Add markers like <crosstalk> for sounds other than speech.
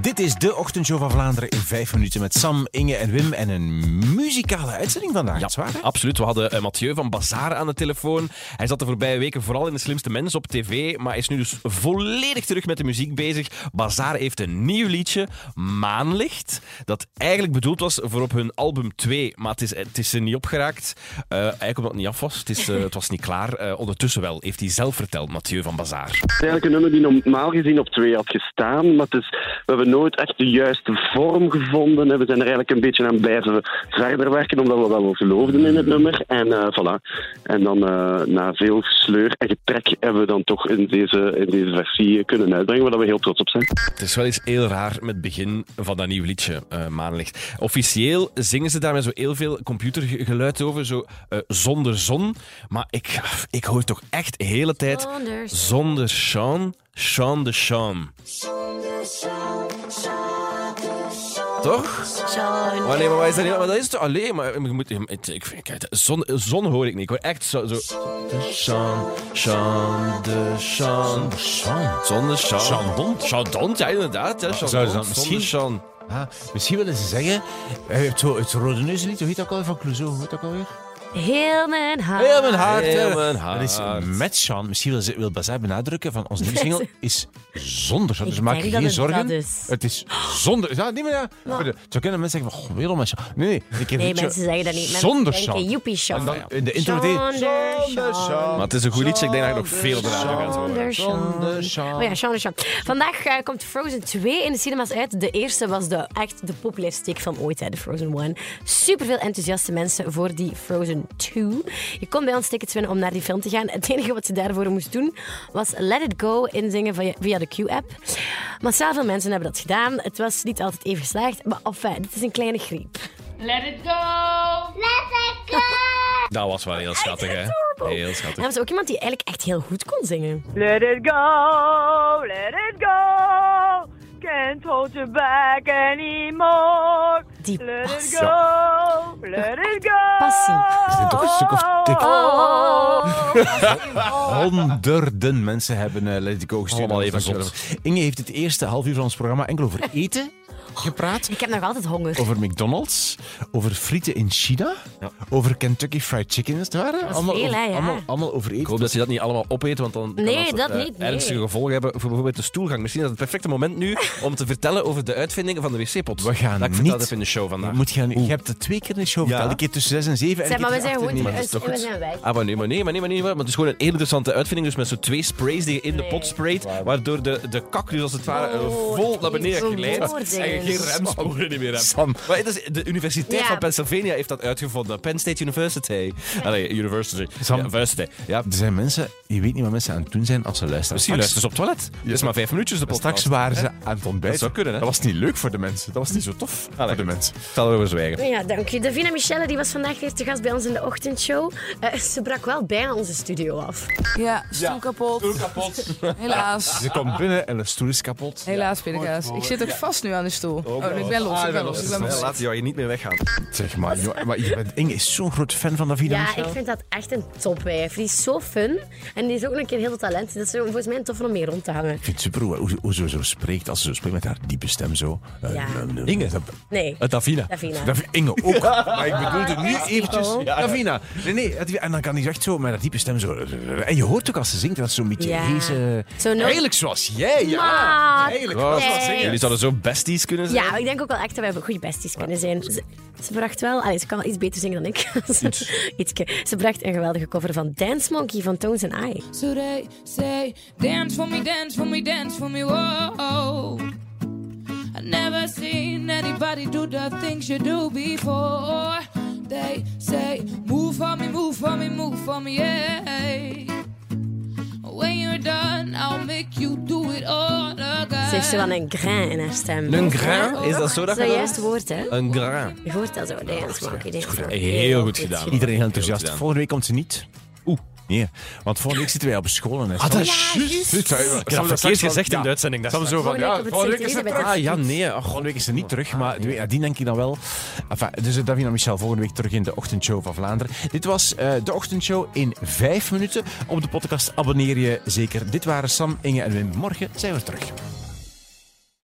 Dit is de ochtendshow van Vlaanderen in vijf minuten met Sam, Inge en Wim. En een muzikale uitzending vandaag, Ja, is waar, hè? absoluut. We hadden eh, Mathieu van Bazaar aan de telefoon. Hij zat de voorbije weken vooral in de slimste mens op tv, maar is nu dus volledig terug met de muziek bezig. Bazaar heeft een nieuw liedje, Maanlicht, dat eigenlijk bedoeld was voor op hun album 2, maar het is, het is er niet opgeraakt. Eh, eigenlijk omdat het niet af was. Het, is, eh, het was niet klaar. Eh, ondertussen wel, heeft hij zelf verteld, Mathieu van Bazaar. Het is eigenlijk een nummer die normaal gezien op twee had gestaan. Maar het is, we hebben nooit echt de juiste vorm gevonden. hè. We zijn er eigenlijk een beetje aan blijven verder werken, omdat we wel geloofden in het nummer. En eh, voilà. En dan eh, na veel sleur en getrek hebben we dan toch in deze, in deze versie eh, kunnen uitbrengen, waar we heel trots op zijn. Het is wel eens heel raar met het begin van dat nieuwe liedje, eh, Maanlicht. Officieel zingen ze daar met zo heel veel computergeluid over, zo eh, zonder zon. Maar ik, ik hoor toch echt de hele tijd Zonder zon. zonder Sean, Sean de Sean. Toch? Maar nee, maar wat is dat? niet? Maar dat is toch alleen, maar je moet, je- het- ik, kijk, zon, zon hoor ik niet. Ik hoor echt zo. zo de Sean, Sean, de Sean. Zonder Sean. Chandon? Chandon, ja, inderdaad. Hè, Zouden ze Chandon, dan misschien- zonder Sean. Ah, misschien willen ze zeggen, eh, je hebt zo het rode neuslied, hoe heet dat ook alweer van Clouseau? Hoe heet dat ook alweer? Heel mijn haar. Heel mijn hart. Heel eh. mijn hart. Dat is met Sean. Misschien wil, ze- wil Bazaar benadrukken van ons nieuwe single is zonder Sean. Ik Dus maak je denk dat geen het zorgen. dat is. Het is zonder. Ja, niet meer. Ja. Zo kunnen mensen zeggen van, goh, weer om met Sean. Nee, nee. een keer Nee, liedje mensen zeggen dat niet. Mensen Zonder denken, Sean. Joepie Sean. En dan in de intro meteen, Zonder Sean. Maar het is een goed liedje. Ik denk dat je nog veel bedragen gaat horen. Zonder Sean. Oh ja, Sean de Sean. Vandaag eh, komt Frozen 2 in de cinemas uit. De eerste was de, echt de populairste steek van ooit, hè, de Frozen 1. Superveel enthousiaste mensen voor die Frozen 2. Je kon bij ons tickets winnen om naar die film te gaan. Het enige wat je daarvoor moest doen, was Let It Go inzingen via, via de Q-app. Massaal veel mensen hebben dat gedaan. Het was niet altijd even geslaagd, maar enfin, dit is een kleine griep. Let it go. Let it go. Dat was wel heel schattig, hè? adorable. Heel En schattig. er was ook iemand die eigenlijk echt heel goed kon zingen. Let it go, let it go. Can't hold you back anymore. Die Let passie. it go, let it go. Passie. Er zijn toch een stuk of <laughs> dik Oh. Honderden mensen hebben eh, Let It Go gestuurd. Allemaal even Dankjewel. zot. Inge heeft het eerste half uur van ons programma enkel over <laughs> eten gepraat. Ik heb nog altijd honger. Over McDonald's, over frieten in China, over Kentucky Fried Chicken, is het waar? hè? Allemaal, veel, over, hè, ja. allemaal, allemaal over Ik eten. Dus hoop dat ze dat niet allemaal opeten, want dan Nee, kan dat, dat eh, niet, nee. ernstige gevolgen hebben voor bijvoorbeeld de stoelgang. Misschien is dat het perfecte moment nu om te vertellen over de uitvindingen van de wc-pot. We gaan dat ik niet- verteld heb in de show Je, vandaag. moet gaan, je hebt het twee keer in de show verteld. Een keer tussen zes en zeven. en Zeg, een maar keer we zijn achter gewoon negen. maar dat is thuis toch en we goed? zijn weg. Ah, maar nee, maar nee, maar nee, maar nee. Maar het is gewoon een heel interessante uitvinding. Dus met zo'n twee sprays die je in de pot sprayt, waardoor de, de kak dus als het ware eh, Oh, vol naar beneden die glijdt. beoordelingen. En je geen remsporen meer hebt. Sam. Maar het is, de Universiteit Ja. van Pennsylvania heeft dat uitgevonden. Penn State University. Allee, University. Sam. Ja, University. Ja, Er zijn mensen, je weet niet wat mensen aan het doen zijn als ze luisteren. misschien Straks- luisteren ze op het toilet. Het is maar vijf minuutjes de podcast. Straks waren ze aan het ontbijten. Dat zou kunnen, hè? Ah, Dat was niet leuk voor de mensen. Dat was niet zo tof voor de mensen. Ik zal erover zwijgen. Ja, dank je. Davina Michelle die was vandaag de eerste gast bij ons in de ochtendshow. Eh, ze brak wel bijna onze studio af. Ja, stoel kapot. <laughs> Helaas. Ze komt binnen en de stoel is kapot. Helaas, pindakaas. Ik zit ook vast nu aan de stoel. Oh, nee, ik ben Ah, los. Ik ben los. Ik ben los. Laat jou hier niet meer weggaan. Zeg maar, joh, maar je bent, Inge is zo'n groot fan van Davina Ja, Michel. ik vind dat echt een topwijf. Die is zo fun en die is ook een keer heel veel talent. Dat is volgens mij een tof om mee rond te hangen. vind het super hoe, hoe, hoe ze zo spreekt. Als ze zo spreekt met haar diepe stem zo. Eh, Ja. eh, eh, Inge. dat- Nee, Het Davina. Davina. Davi- Inge ook. Maar ik bedoelde nu Yes, eventjes people. Davina. Nee, nee. het- En dan kan hij echt zo met haar diepe stem zo. En je hoort ook als ze zingt dat ze zo'n beetje Ja. heze- Zo no- Eigenlijk zoals jij. Ja, Maar- eigenlijk. Wow. Dat is wat ze Nee. zingen. Jullie zouden zo besties kunnen zijn. Ja, ik denk ook wel echt dat we goede besties kunnen zijn. Ze, ze bracht wel, allee, ze kan wel iets beter zingen dan ik. <laughs> Ietske. Ze bracht een geweldige cover van Dance Monkey van Tones and I. So they say, dance for me, dance for me, dance for me, whoa. I never seen anybody do the things you do before. They say, move for me, move for me, move for me, yeah. When you're done, I'll make you do it all again. Ze heeft zo wel een grain in haar stem. Een grain? Is dat zo dat Zo je dat juist woord, hè? doet? Een grain. Je hoort dat zo, Dance Monkey, Dance Monkey. Heel goed gedaan. Iedereen heel enthousiast. gedaan. Volgende week komt ze niet. Oeh. Ah, Nee, want volgende week zitten wij op school. En Ah, dat is Ja, juist. Dit zou je- Ik heb Sam- dat Sam- verkeerd gezegd in de uitzending. Dat Sam zo van, Volgende ja, week op het volgende week is Sint het Elisabeth. Ah ja, Oh, ah, nee. ach, volgende week is ze niet terug, maar de- ja, die denk ik dan wel. Enfin, dus eh, Davina Michel volgende week terug in de ochtendshow van Vlaanderen. Dit was eh, de ochtendshow in vijf minuten. Op de podcast abonneer je zeker. Dit waren Sam, Inge en Wim. Morgen zijn we terug.